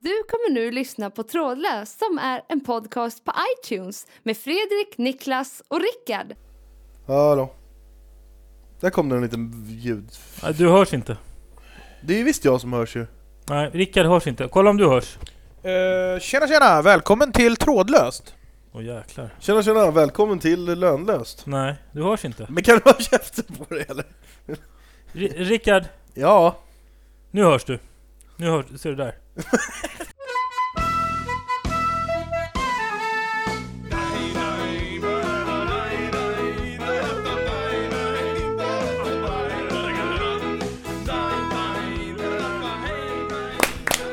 Du kommer nu lyssna på Trådlös som är en podcast på iTunes med Fredrik, Niklas och Rickard. Hallå. Där kom det en liten ljud. Nej, Du hörs inte. Det är ju visst jag som hörs ju. Nej, Rickard hörs inte. Kolla om du hörs. Uh, tjena tjena! Välkommen till Trådlöst! Åh jäklar. Tjena tjena, välkommen till Lönlöst. Nej, du hörs inte. Men kan du ha käften på det eller? Ri- Rickard, Ja. nu hörs du. Nu hörs, ser du där.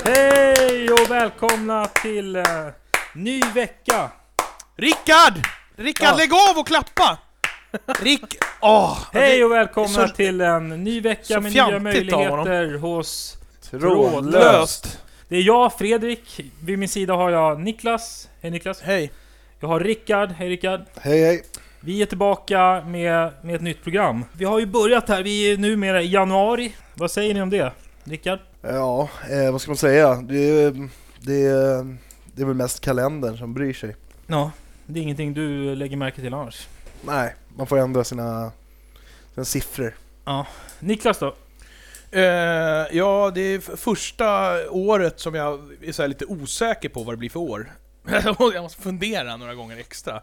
Hej och välkomna till eh, ny vecka. Rickard! Rickard, Ja. lägg av och klappa! Rick... Åh! Hej och välkomna så- till en ny vecka så med nya fjantigt av honom. möjligheter hos... Trådlöst. Det är jag, Fredrik. Vid min sida har jag Niklas. Hej Niklas. Hej. Jag har Rickard. Hej Rickard. Hej hej. Vi är tillbaka med, med ett nytt program. Vi har ju börjat här, vi är numera i januari. Vad säger ni om det? Rickard? Ja, eh, vad ska man säga? Det är, det, är, det är väl mest kalendern som bryr sig. Ja. Det är ingenting du lägger märke till annars. Nej, man får ändra sina, sina siffror. Niklas då? Eh, ja, det är f- första året som jag är så här lite osäker på vad det blir för år. jag måste fundera några gånger extra.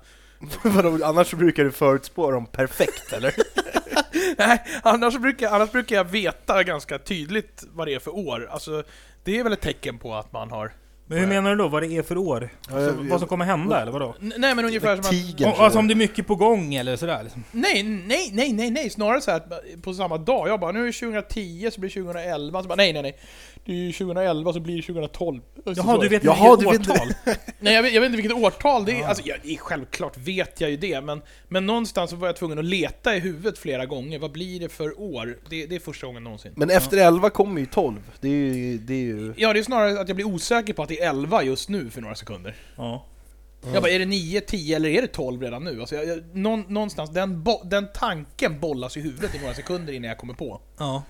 Vadå, Annars så brukar du förutspå dem perfekt eller? Nej, annars brukar, annars brukar jag veta ganska tydligt vad det är för år. Alltså, det är väl ett tecken på att man har... Men hur Nej. menar du då? Vad det är för år? Alltså, vad som kommer hända eller vadå? N- Nej men ungefär som att... Tigern. Om, alltså om det är mycket på gång eller sådär liksom. Nej, nej, nej, nej, nej, snarare så här att på samma dag. Jag bara, nu är det 2010 så blir det 2011, så bara, nej, nej, nej. Det är ju 2011 så blir det 2012. Och så Jaha, så. du vet Ah. Jaha, vilket du vet- årtal? Nej, jag vet, jag vet inte vilket årtal det är. Alltså, jag, i- självklart vet jag ju det, men, men någonstans så var jag tvungen att leta i huvudet flera gånger. Vad blir det för år? Det, det är första gången någonsin. Men efter 11 kommer ju 12. Det är ju... Det är ju... Ja, det är snarare att jag blir osäker på att det är 11 just nu för några sekunder. Ja. Jag bara, är det 9, 10 eller är det 12 redan nu? Alltså, jag, jag, någon, någonstans, den, bo, den tanken bollas i huvudet i några sekunder innan jag kommer på. ja.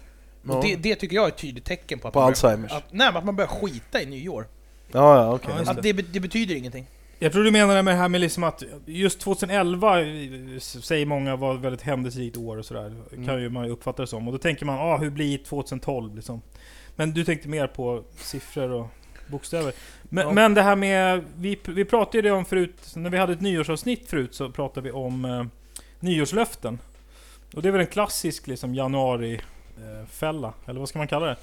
Ja. Och det, det tycker jag är ett tydligt tecken på att På man Alzheimers. Börjar, att, nej, men att man börjar skita i nyår. Ja, ja, okej. Ja, just Att det, be- det betyder ingenting. Jag tror du menar det med det här med liksom att just 2011 eh, säger många var ett väldigt händelserikt år och sådär. Kan ju man ju uppfatta det som. Och då tänker man, ah, hur blir 2012 liksom? Men du tänkte mer på siffror och bokstäver. Men, Ja. men det här med, vi, pr- vi pratade ju det om förut, när vi hade ett nyårsavsnitt förut så pratade vi om eh, nyårslöften. Och det är väl en klassisk liksom januarifälla, eller vad ska man kalla det?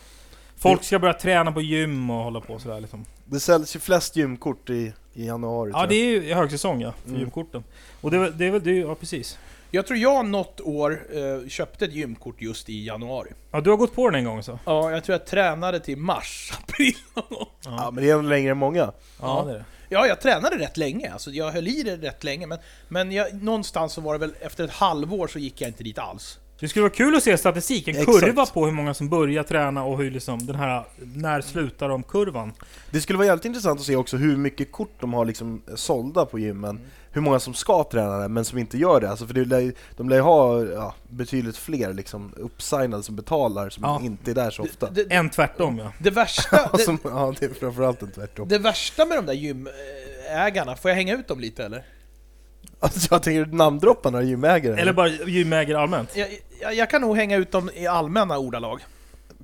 Folk ska börja träna på gym och hålla på sådär liksom. Det säljs ju flest gymkort i, i januari Ja, det är ju högsäsong ja, för Mm. gymkorten. Och det, är väl- det är väl det, ja precis. Jag tror jag något år eh, köpte ett gymkort just i januari. Ja, du har gått på den en gång alltså? så? Ja, jag tror jag tränade till mars, april. Ja, men det är ändå längre än många. Ja, det är det. Ja, jag tränade rätt länge. Alltså, jag höll i det rätt länge. Men, men jag, någonstans så var det väl efter ett halvår så gick jag inte dit alls. Det skulle vara kul att se statistik, en Exakt. kurva på hur många som börjar träna och hur liksom den här, när slutar de kurvan? Det skulle vara jävligt intressant att se också hur mycket kort de har liksom sålda på gymmen. Mm. Hur många som ska träna det, men som inte gör det. Alltså för det lär, ju- de lär ju ha ja, betydligt fler liksom, uppsignade som betalar, som Ja. inte är där så ofta. Det, det, En tvärtom ja. det, värsta, det, som, ja, det är framförallt en tvärtom. det värsta med de där gymägarna, får jag hänga ut dem lite eller? Alltså, jag tänker namndroppa några gymägare. Eller bara gymägare allmänt. Jag, jag, jag kan nog hänga ut dem i allmänna ordalag.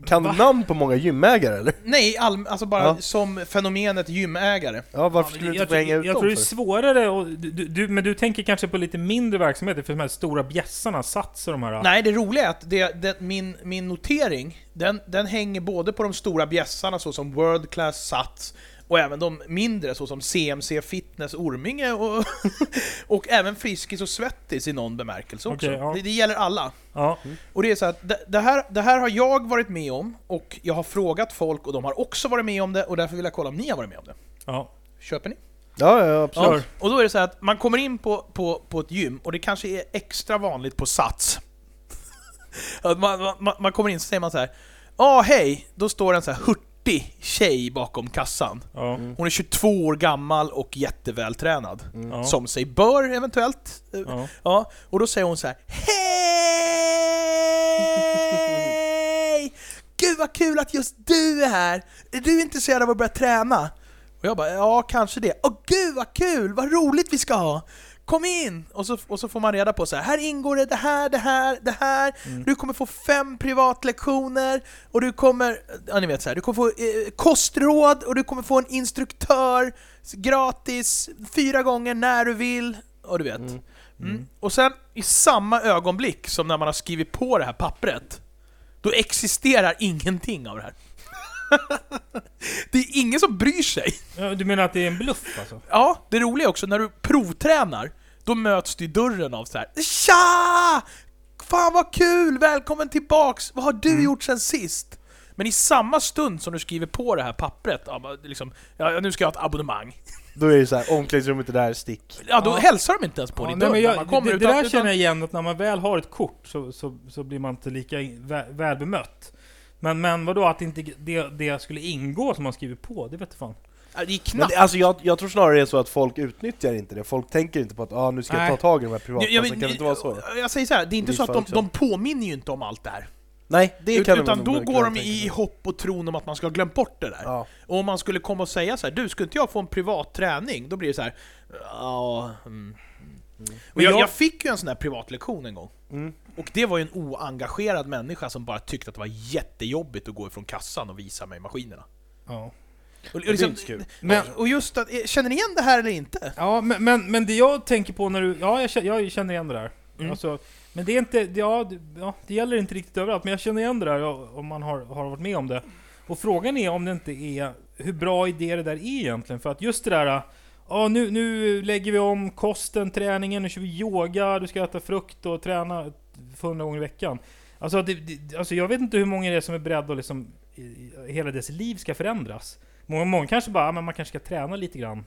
kan du namn på många gymägare eller? Nej, allm- alltså bara Ja. som fenomenet gymägare. Ja, varför skulle du inte Jag, jag, få hänga ut jag dem tror det är för? svårare, och, du, du- du, men du tänker kanske på lite mindre verksamheter, för de här stora bjässarna, Sats och de här... Nej, det roliga är att det, det, min, min notering, den, den hänger både på de stora bjässarna såsom World Class Sats, och även de mindre såsom CMC Fitness Orminge och, och även Friskis och Svettis i någon bemärkelse också. Okej, ja. det, det gäller alla. Ja, Mm. Och det är så att det, det, här, det här har jag varit med om, och jag har frågat folk och de har också varit med om det, och därför vill jag kolla om ni har varit med om det. ja. Köper ni? Ja, ja, absolut. Kör. Ja, och då är det så här att man kommer in på, på, på ett gym, och det kanske är extra vanligt på Sats. Att man, man- man, man kommer in så säger man så här. Ja, hej! Då står en så här hurtig tjej bakom kassan. ja, Mm. Hon är 22 år gammal och jättevältränad. ja, Som sig bör, eventuellt. Ja. ja. och då säger hon så här. Hej! Gud gud vad kul att just du är här! Är du intresserad av att börja träna? Och jag bara, ja kanske det. Åh gud vad kul, vad roligt vi ska ha! Kom in! Och så, och så får man reda på så här, här ingår det det här, det här, det här, du kommer få fem privatlektioner, och du kommer, ja ni vet så här, du kommer få eh, kostråd, och du kommer få en instruktör gratis, fyra gånger när du vill, och du vet. Mm. Och sen i samma ögonblick som när man har skrivit på det här pappret, då existerar ingenting av det här. det är ingen som bryr sig. Ja, Du menar att det är en bluff alltså? Ja, det roliga är också när du provtränar, då möts du i dörren av så här. Tja! Fan vad kul! Välkommen tillbaks! Vad har du Mm. gjort sen sist? Men i samma stund som du skriver på det här pappret, ja, men liksom, ja, nu ska jag ha ett abonnemang. Då är det så här, omklädningsrummet är där, stick. Ja, då Ja. hälsar de inte ens på Ja, din nej, dörr. men när man jag, kommer det, det utan- där utan- känner jag igen, att när man väl har ett kort så, så, så blir man inte lika in, vä, väl bemött. Men, men vadå, att inte det, det skulle ingå som man skriver på? Det vet du fan. Ja, Det Men är knappt. det, alltså jag, jag tror snarare det är så att folk utnyttjar inte det, folk tänker inte på att ah, nu ska jag Nej. ta tag i de här Ja, privata, ja, så men- kan det inte vara så? Jag säger så här, det är inte Det så är att de, fan så. de påminner ju inte om allt det här. Nej, det Ut, kan utan man då nog- går kan de tänka i sig. hopp och tron om att man ska ha glömt bort det där. Ja. Och om man skulle komma och säga så här, du, skulle inte jag få en privat träning? Då blir det så här, ja... Mm. Och jag, jag- jag fick ju en sån här privatlektion en gång. Mm. Och det var ju en oengagerad människa som bara tyckte att det var jättejobbigt att gå ifrån kassan och visa mig maskinerna. Ja. Och, och, Det är liksom, inte så kul. Men, och just att, eh, känner ni igen det här eller inte? ja, men, men, men det jag tänker på när du... Ja, jag känner, jag känner igen det där. Mm. Alltså, men det är inte... det- Ja, det- ja, det gäller inte riktigt överallt, men jag känner igen det där ja, om man har, har varit med om det. Och frågan är om det inte är hur bra idé det där är egentligen. För att just det där, ja nu, nu lägger vi om kosten, träningen, nu kör vi yoga, du ska äta frukt och träna 100 gånger i veckan. Alltså, det, det, alltså jag vet inte hur många det är som är beredda att liksom, i- i- hela dess liv ska förändras. Många, många kanske bara, ja, men man kanske ska träna lite grann.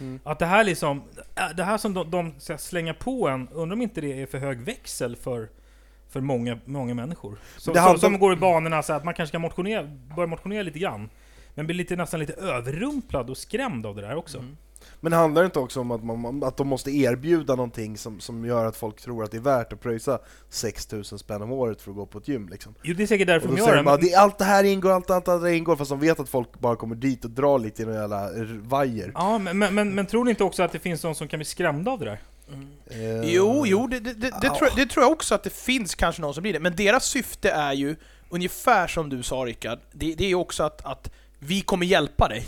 Mm. Att det här liksom, det här som de, de ska slänga på en, undrar om inte det är för hög växel för, för många, många människor. Som, Det handlar som, som om- går i banorna så att man kanske ska motionera, börja motionera lite grann. Men blir lite, nästan lite överrumplad och skrämd av det där också. Men handlar det inte också om att, man, att de måste erbjuda någonting som, som gör att folk tror att det är värt att pröjsa 6000 spänn om året för att gå på ett gym liksom? Jo, det är säkert Och därför då de säger gör de det. bara, Men, det, allt det här ingår, allt det andra ingår, fast de vet att folk bara kommer dit och drar lite i några jävla r- vajer. ja, men, men, men, men tror ni inte också att det finns någon som kan bli skrämd av det där? Eh, Jo, jo, det, det, det, det, tror, jag- det tror jag också att det finns kanske någon som blir det. Men deras syfte är ju, ungefär som du sa Rickard, det, det är ju också att, att vi kommer hjälpa dig. Eh,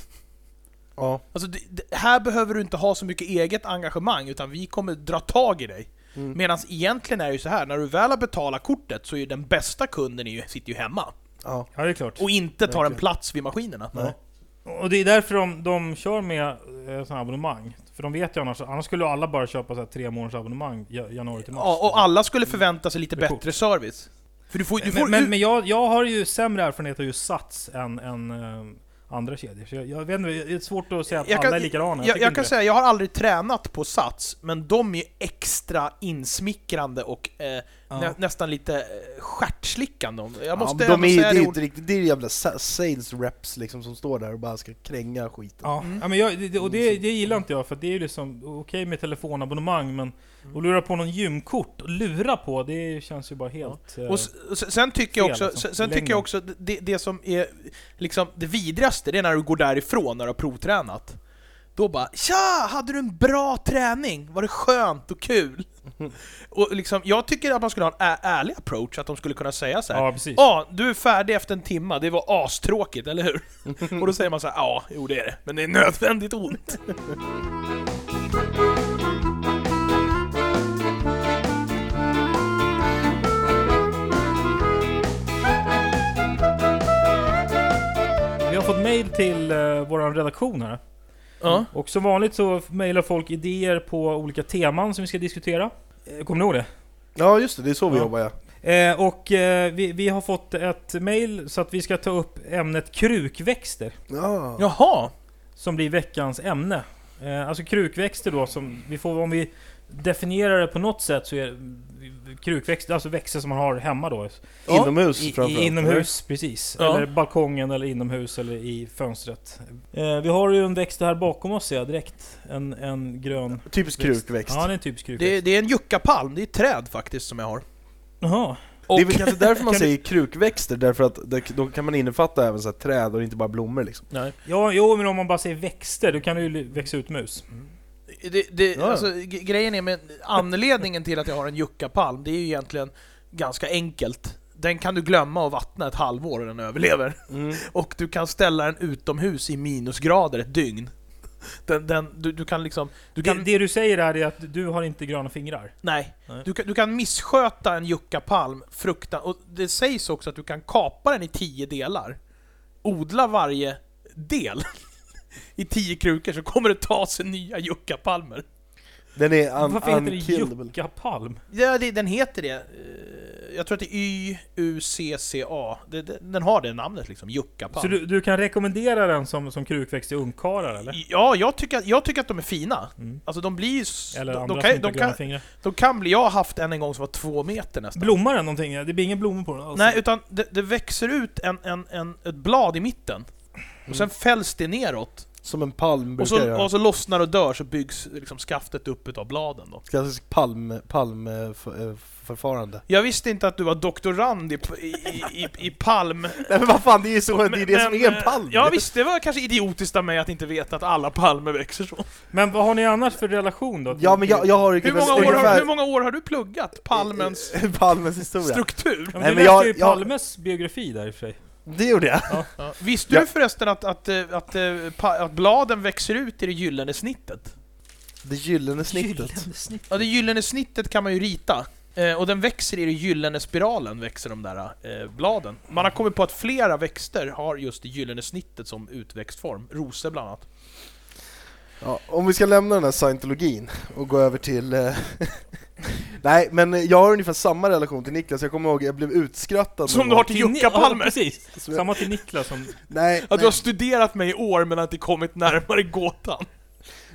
Ja. Alltså, det, det, här behöver du inte ha så mycket eget engagemang, utan vi kommer dra tag i dig. Mm. Medan egentligen är det ju så här, när du väl har betalat kortet så är ju den bästa kunden är ju, sitter ju hemma. ja. Ja, det är klart. Och inte tar en Verkligen. plats vid maskinerna. Nej. Och det är därför de, de kör med eh, sådana abonnemang. För de vet ju annars, annars skulle alla bara köpa så här tre månaders abonnemang ja- januari till mars. Ja, och alla skulle förvänta sig lite Det är coolt. bättre service. För du får, du får, men men, du- men jag, jag har ju sämre erfarenhet av just Sats än, än eh, andra kedjor. Så jag, jag vet inte, det är svårt att säga att Jag alla kan- är likadana. Jag, tycker jag inte kan det. säga, jag har aldrig tränat på Sats, men de är extra insmickrande och eh, Ja. nä, nästan lite eh, stjärtslickande. om- Jag måste ja, men ändå de är, det säga är det inte ordet. riktigt, det är jävla sa- sales reps liksom som står där och bara ska kränga skiten. Ja, Mm. ja, men jag, det, och det, det gillar inte jag för det är ju liksom okej med telefonabonnemang men Mm. att lura på någon gymkort och lura på det känns ju bara helt... eh, Och s- och s- sen tycker jag fel, också, alltså. sen, sen tycker jag Längden. också att det, det som är liksom det vidrigaste, det är när du går därifrån när du har provtränat. Då bara ”Tja! Hade du en bra träning? Var det skönt och kul?” Och liksom, jag tycker att man skulle ha en ä- ärlig approach, att de skulle kunna säga så här. ja precis. Ja, du är färdig efter en timme. Det var astråkigt, eller hur? Och då säger man så här, ja, jo det är det. Men det är nödvändigt ont. Vi har fått mail till eh, vår redaktion här. Ja. Och som vanligt så mejlar folk idéer på olika teman som vi ska diskutera. Eh, Kommer ni ihåg det? Ja just det, det är så vi Ja. jobbar ja. Eh, och eh, vi, vi har fått ett mail så att vi ska ta upp ämnet krukväxter. ja. Jaha! Som blir veckans ämne. Eh, alltså krukväxter då som vi får, om vi definierar det på något sätt så är det krukväxter, alltså växter som man har hemma då. Ja. Inomhus I, framförallt. i, inomhus, precis. Ja. Eller balkongen eller inomhus eller i fönstret. Eh, vi har ju en växt här bakom oss ser jag direkt. En, en grön... eller? Typisk krukväxt. Ja, det är en typisk krukväxt. Det, det är en juckapalm, det är ett träd faktiskt som jag har. Jaha. Och, Det är väl kanske därför man Kan du- säger krukväxter, därför att det- då kan man innefatta även så här träd och inte bara blommor liksom. Nej. ja, jo, men om man bara säger växter, då kan du ju växa ut mus. Det, det, Ja. alltså, g- grejen är med anledningen till att jag har en juckapalm, det är ju egentligen ganska enkelt. Den kan du glömma och vattna ett halvår och den överlever. Mm. Och du kan ställa den utomhus i minusgrader ett dygn. Den, den, du, du kan liksom... Du kan, Det, det du säger här är att du har inte gröna fingrar. nej, Nej. Du, kan, du kan missköta en juckapalm fruktan... Och det sägs också att du kan kapa den i tio delar. Odla varje del i tio krukor så kommer det ta sig nya juckapalmer. Den är un- Varför heter det unkillable. juckapalm? Ja, det, den heter det. Eh, Jag tror att det är Y-U-C-C-A. Det- det- Den har det namnet liksom, Så juckapalm. du, du kan rekommendera den som, som krukväxt till ungkarlar eller? Ja, jag tycker, att- jag tycker att de är fina. Mm. Alltså de blir ju... s- Eller de, andra de, som kan, inte de, har gröna kan, fingrar. de kan bli... Jag har haft en en gång som var två meter nästan. Blommar den någonting? Det blir ingen blommor på den alls? Nej, utan det, det växer ut en, en, en, ett blad i mitten. Och Mm. sen fälls det neråt. Som en palm Och brukar så, göra. och så lossnar och dör så byggs liksom skaftet upp utav bladen då. Klassiskt palm, palm, eh, för- eh, förfarande. Jag visste inte att du var doktorand i, i, i, i palm... Nej men vad fan, det är ju så, det är det som är en eh, palm! Ja visst, det var kanske idiotiskt av mig att inte veta att alla palmer växer så. Men vad har ni annars för relation då? Ja men jag, jag har Hur många, år har, hur många år har du pluggat palmens palmens Eh, historia. struktur? Ja, men Nej, du men läste jag- ju jag- Palmes biografi där i och för sig. Det gjorde jag. Ja. Visste Ja. du förresten att, att, eh, att, eh, pa- att bladen växer ut i det gyllene snittet? Det gyllene snittet. Gyllene snitt. Ja, det gyllene snittet kan man ju rita. Eh, och den växer i den gyllene spiralen, växer de där eh, bladen. Man har kommit på att flera växter har just det gyllene snittet som utväxtform. Rosor bland annat. Ja, om vi ska lämna den här scientologin och gå över till... eh, Nej men jag har ungefär samma relation till Niklas, jag kommer ihåg jag blev utskrattad någon Som du gång. har till Ni- Ja, juckapalmer! precis. Som jag- Samma till Niklas som... Nej, Att du nej, har studerat mig i år men inte kommit närmare gåtan.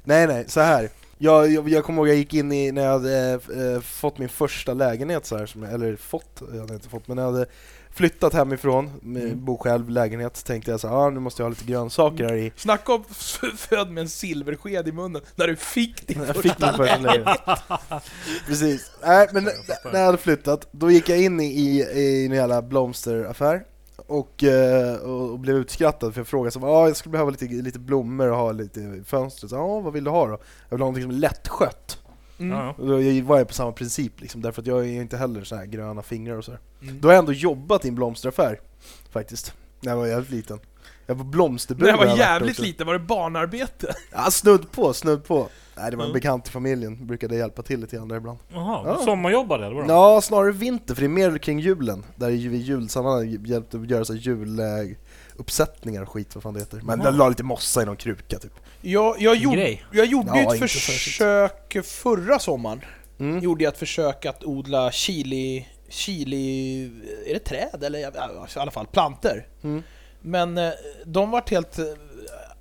nej, nej, så här. Jag, jag, jag kommer ihåg jag gick in i, när jag hade eh, f- eh, fått min första lägenhet så här, som, jag- eller fått, jag hade inte fått, men jag hade flyttat hemifrån, mm. bo själv, lägenhet, så tänkte jag så här, ah, nu måste jag ha lite grönsaker här i. Snacka om f- född med en silversked i munnen när du fick din Jag första fick min första lägenhet. Precis. Nej, men när jag hade flyttat, då gick jag in i, i en jävla blomsteraffär och, eh, och och blev utskrattad för jag frågade så, ah, jag skulle behöva lite, lite blommor och ha lite i fönstret. Så, ah, vad vill du ha då? Jag vill ha någonting som är lättskött. Mm. Ja, ja. Och då jag var jag på samma princip liksom, därför att jag är ju inte heller så här gröna fingrar och så. här. Mm. Då har jag ändå jobbat i en blomsteraffär faktiskt, när jag var jävligt liten. Jag var blomsterbud När jag har var jag varit jävligt också. liten var det barnarbete. Ja, snudd på, snudd på. Nej, det var en Mm. bekant i familjen, brukade hjälpa till lite grann där ibland. Jaha, Ja. du sommarjobbade eller vadå? Ja, snarare vinter, för det är mer kring julen. Där är ju i julsammanhang hjälpte att göra så här juluppsättningar och skit, vad fan det heter. Men Jaha. jag la lite mossa i någon kruka typ. Jag, jag, Vilken gjorde, grej. jag gjorde ju Ja, ett inte särskilt. försök förra sommaren. Mm. Gjorde jag ett försök att odla chili... Chili... Är det träd eller? jag- ja, I alla fall planter. Mm. Men eh, de vart helt eh,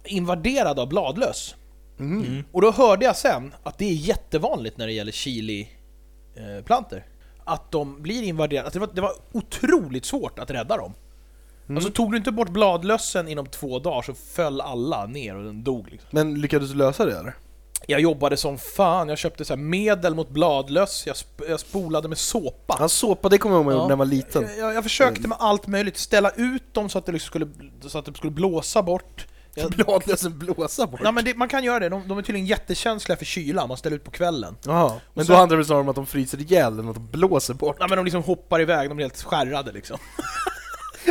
invaderade av bladlöss. Mm. Mm. Och då hörde jag sen att det är jättevanligt när det gäller chili-planter. Att de blir invaderade. Att det, var, det var otroligt svårt att rädda dem. Alltså tog du inte bort bladlössen inom två dagar så föll alla ner och den dog. Liksom. Men lyckades du lösa det eller? Jag jobbade som fan, jag köpte så här medel mot bladlöss, jag, sp- jag spolade med såpa. Han såpa, det kommer jag ihåg Ja. när jag var liten. Jag, jag, jag försökte med allt möjligt, ställa ut dem så att det, liksom skulle, så att det skulle blåsa bort. Jag, Bladlösen blåsa bort. nej, men det, man kan göra det, de, de är tydligen jättekänsliga för kyla, man ställer ut på kvällen. Jaha, men så- då handlar det snarare om att de fryser ihjäl än att de blåser bort. Nej men de liksom hoppar iväg, de blir helt skärrade liksom.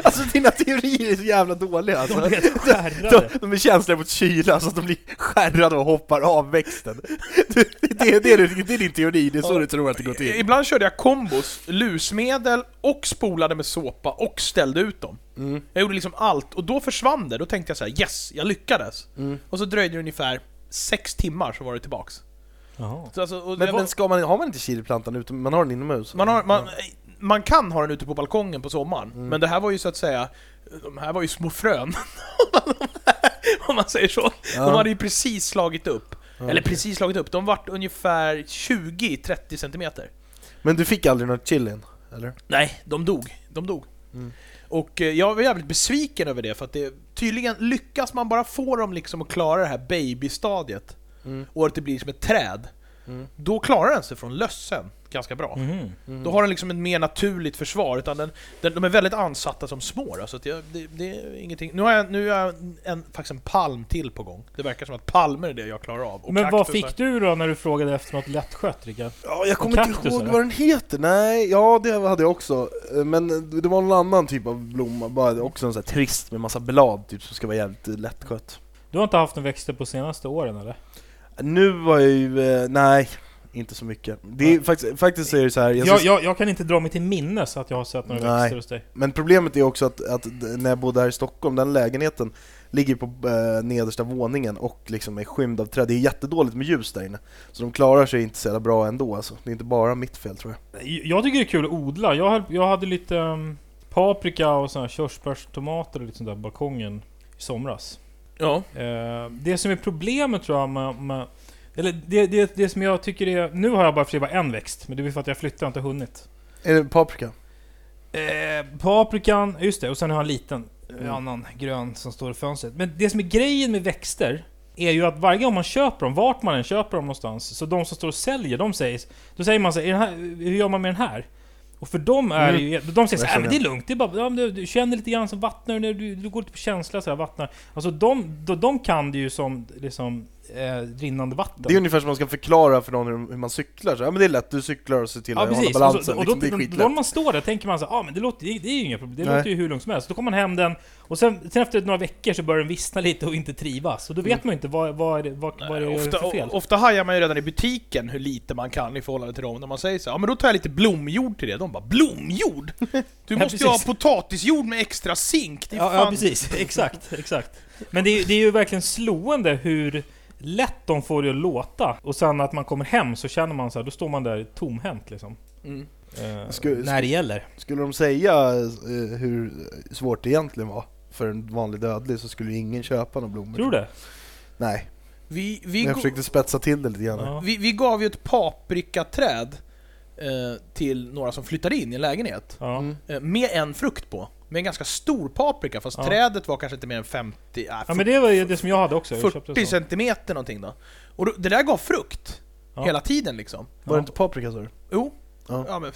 Alltså dina teorier är så jävla dåliga alltså. De blev De, skärrade. de är känsliga mot kyla så att de blir skärrade och hoppar av växten. Det, det, det, är- det är din teori, det är så du tror att det går till. Ibland körde jag kombos, lusmedel och spolade med såpa och ställde ut dem. Mm. Jag gjorde liksom allt, och då försvann det. Då tänkte jag så här: yes, jag lyckades. Mm. Och så dröjde det ungefär sex timmar så var det tillbaks. Jaha. Så alltså, och, Men, jag- men ska man, har man inte chiliplantan ute, man har den inomhus? man, har, man, man kan ha den ute på balkongen på sommaren, Mm. men det här var ju så att säga, de här var ju små frön. Om man säger så. Ja. De hade ju precis slagit upp. Ja. Eller precis slagit upp, de vart ungefär 20-30 centimeter. Men du fick aldrig något chilin? Eller? Nej, de dog. De dog. Mm. Och eh, jag var jävligt besviken över det, för att det, tydligen lyckas man bara få dem liksom att klara det här babystadiet, Mm. och att det blir som ett träd, Mm. Då klarar den sig från lössen ganska bra. Mhm. Då har den liksom ett mer naturligt försvar, utan den, den, de är väldigt ansatta som smår. Alltså att jag, det, det är ingenting. Nu har jag, nu har jag en, faktiskt en palm till på gång. Det verkar som att palmer är det jag klarar av. och Men vad kaktusar. fick du då när du frågade efter något lättskött Rickard? Ja, jag kommer inte kaktus, ihåg eller? vad den heter, nej, ja det hade jag också. Eh, Men det var någon annan typ av blomma, bara också en sån här trist med massa blad typ som ska vara jävligt eh, lättskött. Du har inte haft en växter på senaste åren eller? Nu var jag ju, eh, nej, inte så mycket. Det är, faktiskt, faktiskt är det så här, jag Jag, ska- jag, jag kan inte dra mig till minnes att jag har sett några Nej. växter hos dig. men problemet är också att, att d- när jag bodde här i Stockholm, den lägenheten ligger på eh, nedersta våningen och liksom är skymd av träd. Det är jättedåligt med ljus där inne, så de klarar sig inte så jävla bra ändå alltså. Det är inte bara mitt fel tror jag. Jag tycker det är kul att odla. Jag, höll, jag hade lite ehm, paprika och såna här körsbärstomater och lite sånt där på balkongen i somras. Ja. Eh, det som är problemet tror jag med... med eller det, det, det som jag tycker är... Nu har jag bara för sig bara en växt, men det är för att jag flyttar och inte hunnit. Är det paprika? Eh, paprikan, just det, och sen har jag en liten eh, annan grön som står i fönstret. Men det som är grejen med växter är ju att varje gång man köper dem, vart man än köper dem någonstans, så de som står och säljer, de säger... Då säger man så här, "Är den här hur gör man med den här? Och för dem är det ju... De säger så här, "Äh, men det är lugnt, det är bara, ja, men du, du känner lite grann som vattnar, du, du, du går lite på känsla så här, vattnar. Alltså de, de, de kan det ju som liksom, eh, rinnande vatten. Det är ungefär som man ska förklara för någon hur, hur man cyklar, så, ja men det är lätt, du cyklar så till Ja att hålla precis, balansen, och, så, och då, liksom, det är då skitlätt. när man står där tänker man så här, ah, men det, låter, det, det är ju inga problem, det Nej. låter ju hur lugnt som helst. Då kommer man hem den, och sen, sen efter några veckor så börjar den vissna lite och inte trivas. Och då vet Mm. man ju inte vad, vad är det, vad, vad är det jag gör ofta, för fel. ofta hajar man ju redan i butiken hur lite man kan i förhållande till dem. När man säger så här, ja men då tar jag lite blomjord till det. De bara blomjord? Du måste ju ha precis. potatisjord med extra zink. Det är ja, fan... ja precis, exakt, exakt. Men det, är- det är ju verkligen slående hur lätt de får det att låta. Och sen att man kommer hem så känner man så här, då står man där tomhänt liksom. Mm. Eh, Sku- när det gäller. Skulle de säga eh, hur svårt det egentligen var för en vanlig dödlig så skulle ju ingen köpa några blommor. Tror du det? Nej, Vi, vi, men jag go- försökte spetsa till det lite grann. Ja. vi, vi gav ju ett paprikaträd eh, till några som flyttade in i en lägenhet. Ja. Mm. Eh, med en frukt på. Med en ganska stor paprika, fast Ja. trädet var kanske inte mer än 50... Äh, ja men det var ju det som jag hade också. Jag köpte 40 en sån. centimeter någonting då. Och då, det där gav frukt. Ja. Hela tiden liksom. Var det inte paprika sa du? Jo. Ja. Ja, men,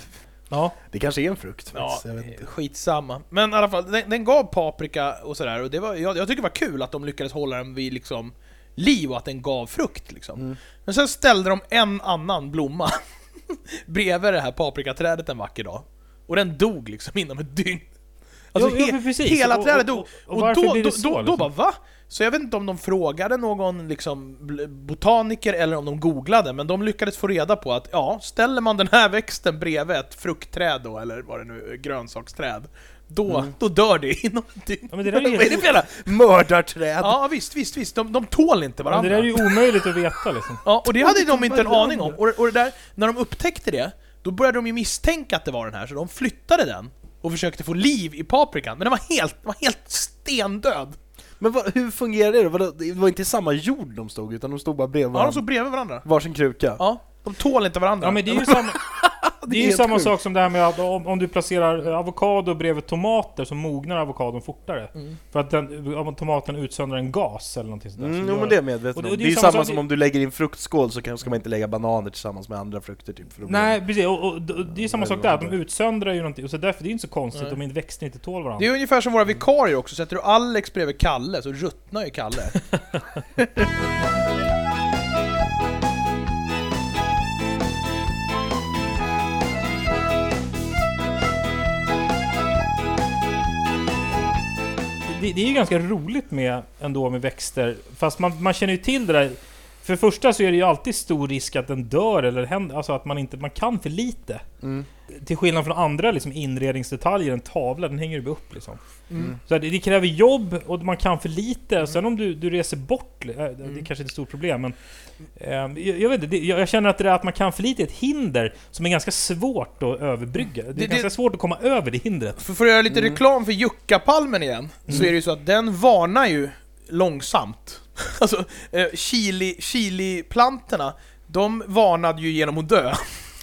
Ja. Det kanske är en frukt faktiskt, jag vet eh, inte. skitsamma. Men i alla fall, den, den gav paprika och sådär. Och det var, jag, jag tycker det var kul att de lyckades hålla den vid liksom liv och att den gav frukt liksom. Mm. Men sen ställde de en annan blomma bredvid det här paprikaträdet en vacker dag. Och den dog liksom inom ett dygn. Alltså Ja, ja, he- men precis. hela Och- trädet och- dog. och- och Och, varför då, blir då, det så, då, då liksom? bara va? Så jag vet inte om de frågade någon liksom bl- botaniker eller om de googlade, men de lyckades få reda på att ja, ställer man den här växten bredvid ett fruktträd då, eller vad det nu är, grönsaksträd, då, då dör det inom ett dygn. Mm. Ja, men det där är ju Vad är det helt- för jävla... Mördarträd! Ja visst, visst, visst, de, de tål inte Men varandra. det där är ju omöjligt att veta liksom. Ja, och det hade de inte en varandra. aning om. Och, det- och det där, när de upptäckte det, då började de ju misstänka att det var den här, så de flyttade den och försökte få liv i paprikan, men den var helt, den var helt stendöd. Men vad, hur fungerar det då? Vadå, Det var inte i samma jord de stod utan de stod bara bredvid Ja, de varandra? stod bredvid varandra. Varsin kruka? Ja, de tål inte varandra. Ja men det är ju samma, det är ju helt samma sjukt. sak som det här med att om, om du placerar eh, avokado bredvid tomater så mognar avokadon fortare. För att den, om tomaten utsöndrar en gas eller någonting sånt där. Mm. Mm, som jo gör men det. det är jag medveten Alltså, Och det- om. och Det är ju samma som det- om du lägger i en fruktskål så kan- ska man inte lägga bananer tillsammans med andra frukter typ. För då blir- Nej precis, och, och, och det är samma sak där, de utsöndrar ju någonting. Och så därför det är inte så konstigt Nej. om inte växter inte tål Det varandra. är ungefär som våra vikarier också, sätter du Alex bredvid Kalle så ruttnar ju Kalle. Det, det är ju ganska roligt med, ändå med växter, fast man, man känner ju till det där. För det första så är det ju alltid stor risk att den dör eller händer, alltså att man inte man kan för lite. Mm. Till skillnad från andra liksom, inredningsdetaljer, en tavla, den hänger du upp liksom. Mm. Så här, det, det kräver jobb och man kan för lite. Sen om du, du reser bort, li- äh, det är kanske inte ett stort problem men... eh, jag, jag, vet, inte, det, jag, jag känner att det där att man kan för lite är ett hinder som är ganska svårt att överbrygga. Det är Det- ganska det- svårt att komma över det hindret. För, för att göra lite Mm. reklam för Juckapalmen igen, så är det ju så att den varnar ju långsamt. Alltså, eh, chili, chili-plantorna, de varnade ju genom att dö.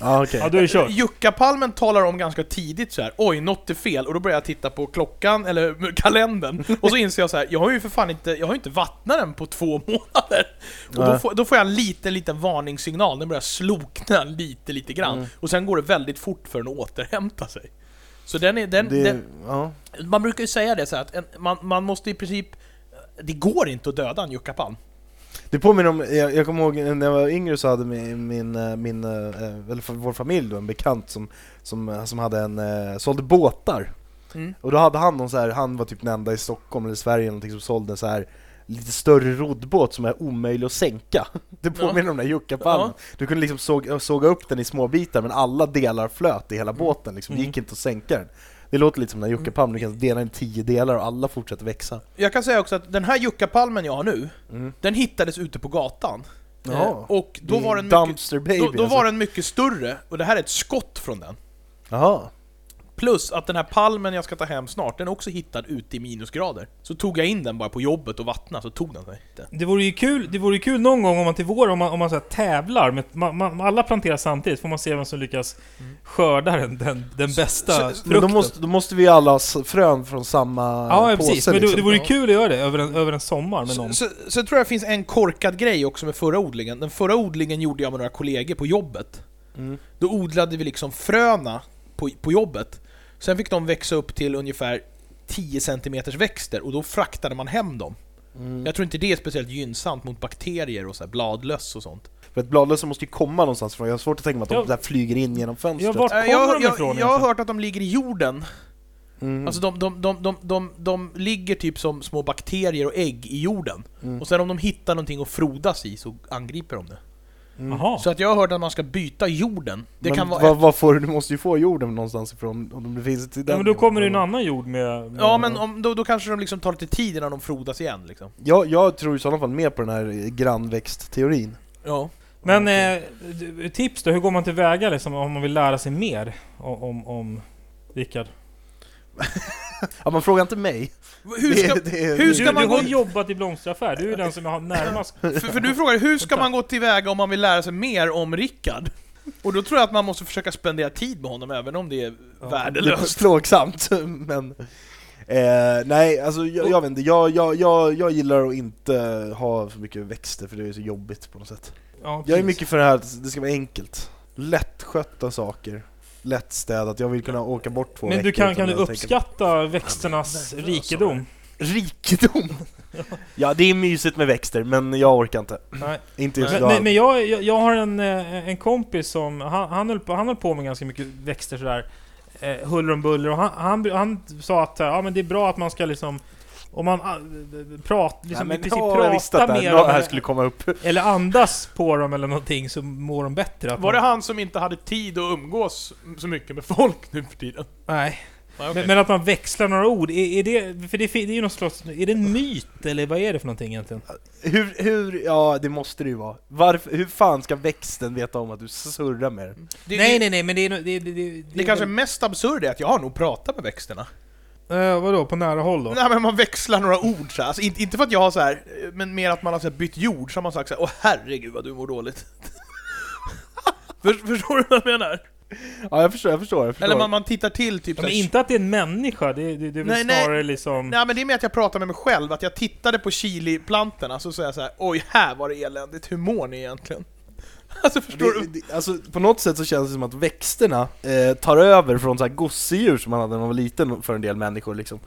Ja, okej. Ja, då är det kört. Jukkapalmen talar om ganska tidigt så här. oj något är fel, och då börjar jag titta på klockan, eller kalendern, och så inser jag så här. jag har ju för fan inte, jag har ju inte vattnat den på två månader. Och då Nej. får, då får jag en liten, liten varningssignal, den börjar slokna lite, lite grann. Och sen går det väldigt fort för den att återhämta sig. Så den är, den, Det, den, ja. man brukar ju säga det så här, att en, man, man måste i princip, det går inte att döda en jukkapalm. det påminner om, jag, jag kommer ihåg när jag var yngre så hade min, min, eh, min eh, eller för- vår familj då, en bekant som, som, eh, som hade en, eh, sålde båtar. Mm. Och då hade han någon så här, han var typ den enda i Stockholm eller Sverige eller någonting som sålde en så här lite större roddbåt som är omöjlig att sänka. Det påminner om den där juckapalmen. Du kunde liksom såg, såga upp den i små bitar men alla delar flöt i hela båten liksom, det gick inte att sänka den. Det låter lite som den här juckapalmen, du kan dela den i tio delar och alla fortsätter växa. Jag kan säga också att den här jukkapalmen jag har nu, Mm. den hittades ute på gatan. Jaha. Eh, Och då Det är var den mycket, Dumpster baby då, då alltså. var den mycket större, och det här är ett skott från den. Jaha. Plus att den här palmen jag ska ta hem snart, den är också hittad ute i minusgrader. Så tog jag in den bara på jobbet och vattnade, så tog den sig. Det vore ju kul, det vore ju kul någon gång om man till vår, om man, om man så här tävlar, med, man, man, alla planterar samtidigt, får man se vem som lyckas skörda den, den, den bästa Så- Men frukten. då måste, då måste vi alla s- frön från samma ja, ja, påse precis. Men det, liksom. det vore ju kul att göra det över en, över en sommar med någon. Så, så, så tror jag det finns en korkad grej också med förra odlingen. Den förra odlingen gjorde jag med några kollegor på jobbet. Mm. Då odlade vi liksom fröna på, på jobbet. Sen fick de växa upp till ungefär 10 cm växter och då fraktade man hem dem. Mm. Jag tror inte det är speciellt gynnsamt mot bakterier och så här bladlöss och sånt. För att bladlösen måste ju komma någonstans ifrån, jag har svårt att tänka mig att de Ja. där flyger in genom fönstret. Ja, vart- Äh, kommer jag, de ifrån jag, jag har egentligen? hört att de ligger i jorden. Mm. Alltså de, de, de, de, de, de ligger typ som små bakterier och ägg i jorden. Mm. Och sen om de hittar någonting att frodas i så angriper de det. Mm. Jaha. Så att jag har hört att man ska byta jorden. Det men kan vara... vad, vad får du? Du måste ju få jorden någonstans ifrån om det finns till den. Ja, men då kommer det ju en annan jord med... med Ja men om, då, då kanske de liksom tar lite tid innan de frodas igen liksom. jag, jag tror i sådana fall mer på den här eh, grannväxtteorin. Ja. Men eh, d- tips då, hur går man tillväga liksom, om man vill lära sig mer om, om, om Rickard? Ja, man frågar inte mig. Hur ska, det, det, hur Du, ska du man gå- har jobbat i blomsteraffär, du är ju den som har närmast... för, för du frågar hur ska man gå tillväga om man vill lära sig mer om Rickard? Och då tror jag att man måste försöka spendera tid med honom även om det är det Ja. är värdelöst. plågsamt, men... Eh, nej, alltså jag, jag vet inte. Jag, jag, jag, jag gillar att inte ha för mycket växter för det är så jobbigt på något sätt. Ja, Jag är precis. mycket för det här att det ska vara enkelt. Lättskötta saker. Lättstädat. Jag vill kunna åka bort två Men du veckor kan, utan kan du att tänka på- uppskatta växternas rikedom? Rikedom! ja, det är mysigt med växter, men jag orkar inte. Nej. Inte just Men, idag. men, men jag, jag, jag har en, eh, en kompis som, han, han, höll på, han höll på med ganska mycket växter sådär, eh, huller om buller, och han, han, han sa att eh, ja, men det är bra att man ska liksom, om man ah, prat, liksom, Nej, i men princip ja, jag visste prata att det mer här, det här om, skulle komma upp. eller andas på dem eller någonting så mår de bättre. Att Var det man, han som inte hade tid att umgås så mycket med folk nu för tiden? nej. Nej, okej. Men, men att man växlar några ord, är, är det, för det, fi- det är ju någon slags, är det en myt eller vad är det för någonting egentligen? Hur, hur, ja det måste det ju vara. Varför, hur fan ska växten veta om att du surrar med den? det, nej det, nej nej men det är no- det, det, det, det kanske mest absurda är att jag har nog pratat med växterna. eh, Vadå, på nära håll då? Nej men man växlar några ord så här. Alltså, inte, inte för att jag har så här, men mer att man har så här bytt jord, så har man sagt så här, åh herregud vad du mår dåligt. För- Förstår du vad jag menar? Ja jag förstår, jag förstår, jag förstår. Eller man, man tittar till typ Ja, så men här, inte att det är en människa, det, det, det är väl Nej, nej. snarare liksom... Nej men det är mer att jag pratar med mig själv, att jag tittade på chiliplantorna så säger jag så här, oj här var det eländigt, hur mår ni egentligen? Alltså det, förstår du? det, alltså, på något sätt så känns det som att växterna eh, tar över från så här gosedjur som man hade när man var liten för en del människor liksom.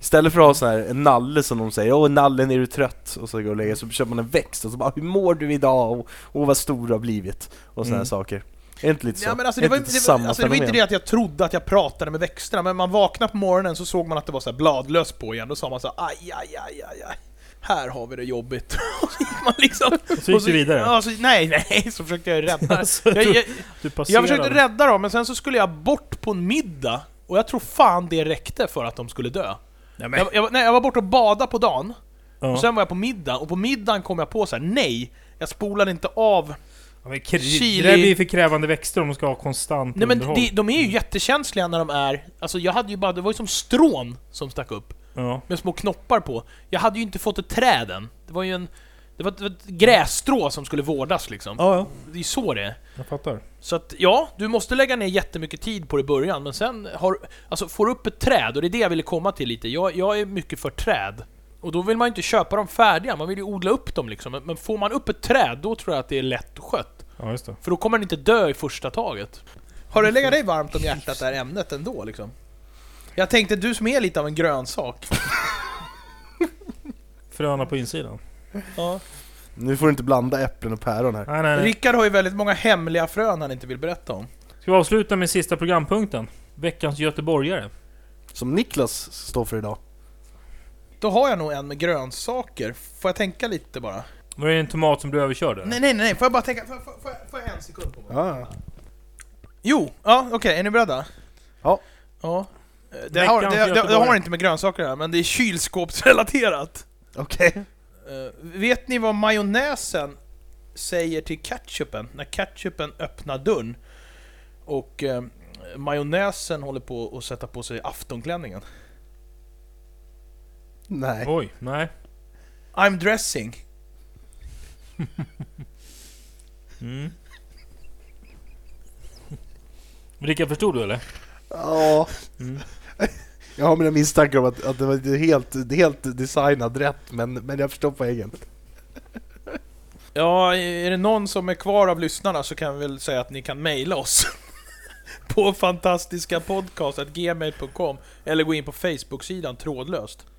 Istället för att ha så här en nalle som de säger, åh nallen är du trött? Och så går och lägger så köper man en växt och så bara, hur mår du idag? Och, och vad stor du har blivit? Och sådana Mm. här saker. Är det inte lite så? Ja, men alltså, Är det, var, inte det, var, samma alltså, det var inte fenomen? det att jag trodde att jag pratade med växterna, men man vaknade på morgonen så såg man att det var så här bladlös på igen, då sa man så här, aj, aj, aj, aj, aj. Här har vi det jobbigt. Och så gick man liksom... Så gick och du vidare? Ja, så, nej, nej, så försökte jag rädda Alltså, jag, jag, Du jag passerade. försökte rädda dem, men sen så skulle jag bort på en middag, och jag tror fan det räckte för att de skulle dö. Nej, men, Jag, jag, nej, jag var borta och badade på dagen, ja. och sen var jag på middag, och på middagen kom jag på så här: nej, jag spolade inte av... ja, men kri- Chili- Det där blir ju för krävande växter om de ska ha konstant Nej men underhåll. det, de är ju jättekänsliga när de är... Alltså jag hade ju bara, det var ju som strån som stack upp, Ja. med små knoppar på. Jag hade ju inte fått ett träd än. Det var ju en... Det var, ett- det var ett grässtrå som skulle vårdas liksom. Ja, ja. Det är så det är. Jag fattar. Så att ja, du måste lägga ner jättemycket tid på det i början, men sen har, alltså, får du upp ett träd, och det är det jag ville komma till lite. Jag, jag är mycket för träd. Och då vill man ju inte köpa dem färdiga, man vill ju odla upp dem liksom. Men, men får man upp ett träd, då tror jag att det är lätt skött. Ja, just det. För då kommer den inte dö i första taget. Har det legat dig varmt om hjärtat det här ämnet ändå liksom? Jag tänkte du som är lite av en grönsak. Fröna på insidan. Ja. Nu får du inte blanda äpplen och päron här. Nej, nej, nej. Rickard har ju väldigt många hemliga frön han inte vill berätta om. Ska vi avsluta med sista programpunkten? Veckans göteborgare. Som Niklas står för idag. Då har jag nog en med grönsaker. Får jag tänka lite bara? Var det en tomat som blev överkörd eller? Nej, nej, nej, får jag bara tänka? Får, får, får, jag- får jag en sekund på mig? Ja, ja. Jo, ja okej, är ni beredda? Ja. Ja. Eh, Det Veckans har, det, det, det har Göteborg. inte med grönsaker att göra, men det är kylskåpsrelaterat. Okej. Eh, vet ni vad majonnäsen säger till ketchupen? När ketchupen öppnar dörren och eh, majonnäsen håller på att sätta på sig aftonklänningen. Nej. Oj, nej. I'm dressing. Mm. Rickard, förstod du eller? Ja. Mm. Jag har mina misstankar om att, att det var inte helt, helt designad rätt, men, men jag förstår poängen. Ja, är det någon som är kvar av lyssnarna så kan vi väl säga att ni kan mejla oss. på fantastiskapodcast.gmail.com eller gå in på Facebook-sidan trådlöst. Ja,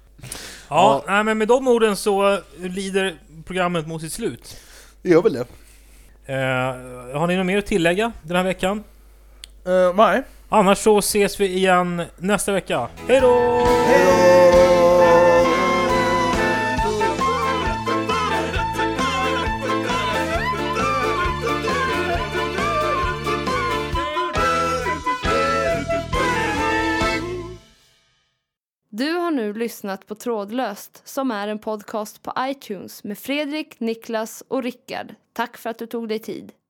Ja. Nej, men med de orden så lider programmet mot sitt slut. Det gör väl det. Eh, har ni något mer att tillägga den här veckan? Uh, nej. Annars så ses vi igen nästa vecka. Hej då! Du har nu lyssnat på Trådlöst som är en podcast på iTunes med Fredrik, Niklas och Rickard. Tack för att du tog dig tid.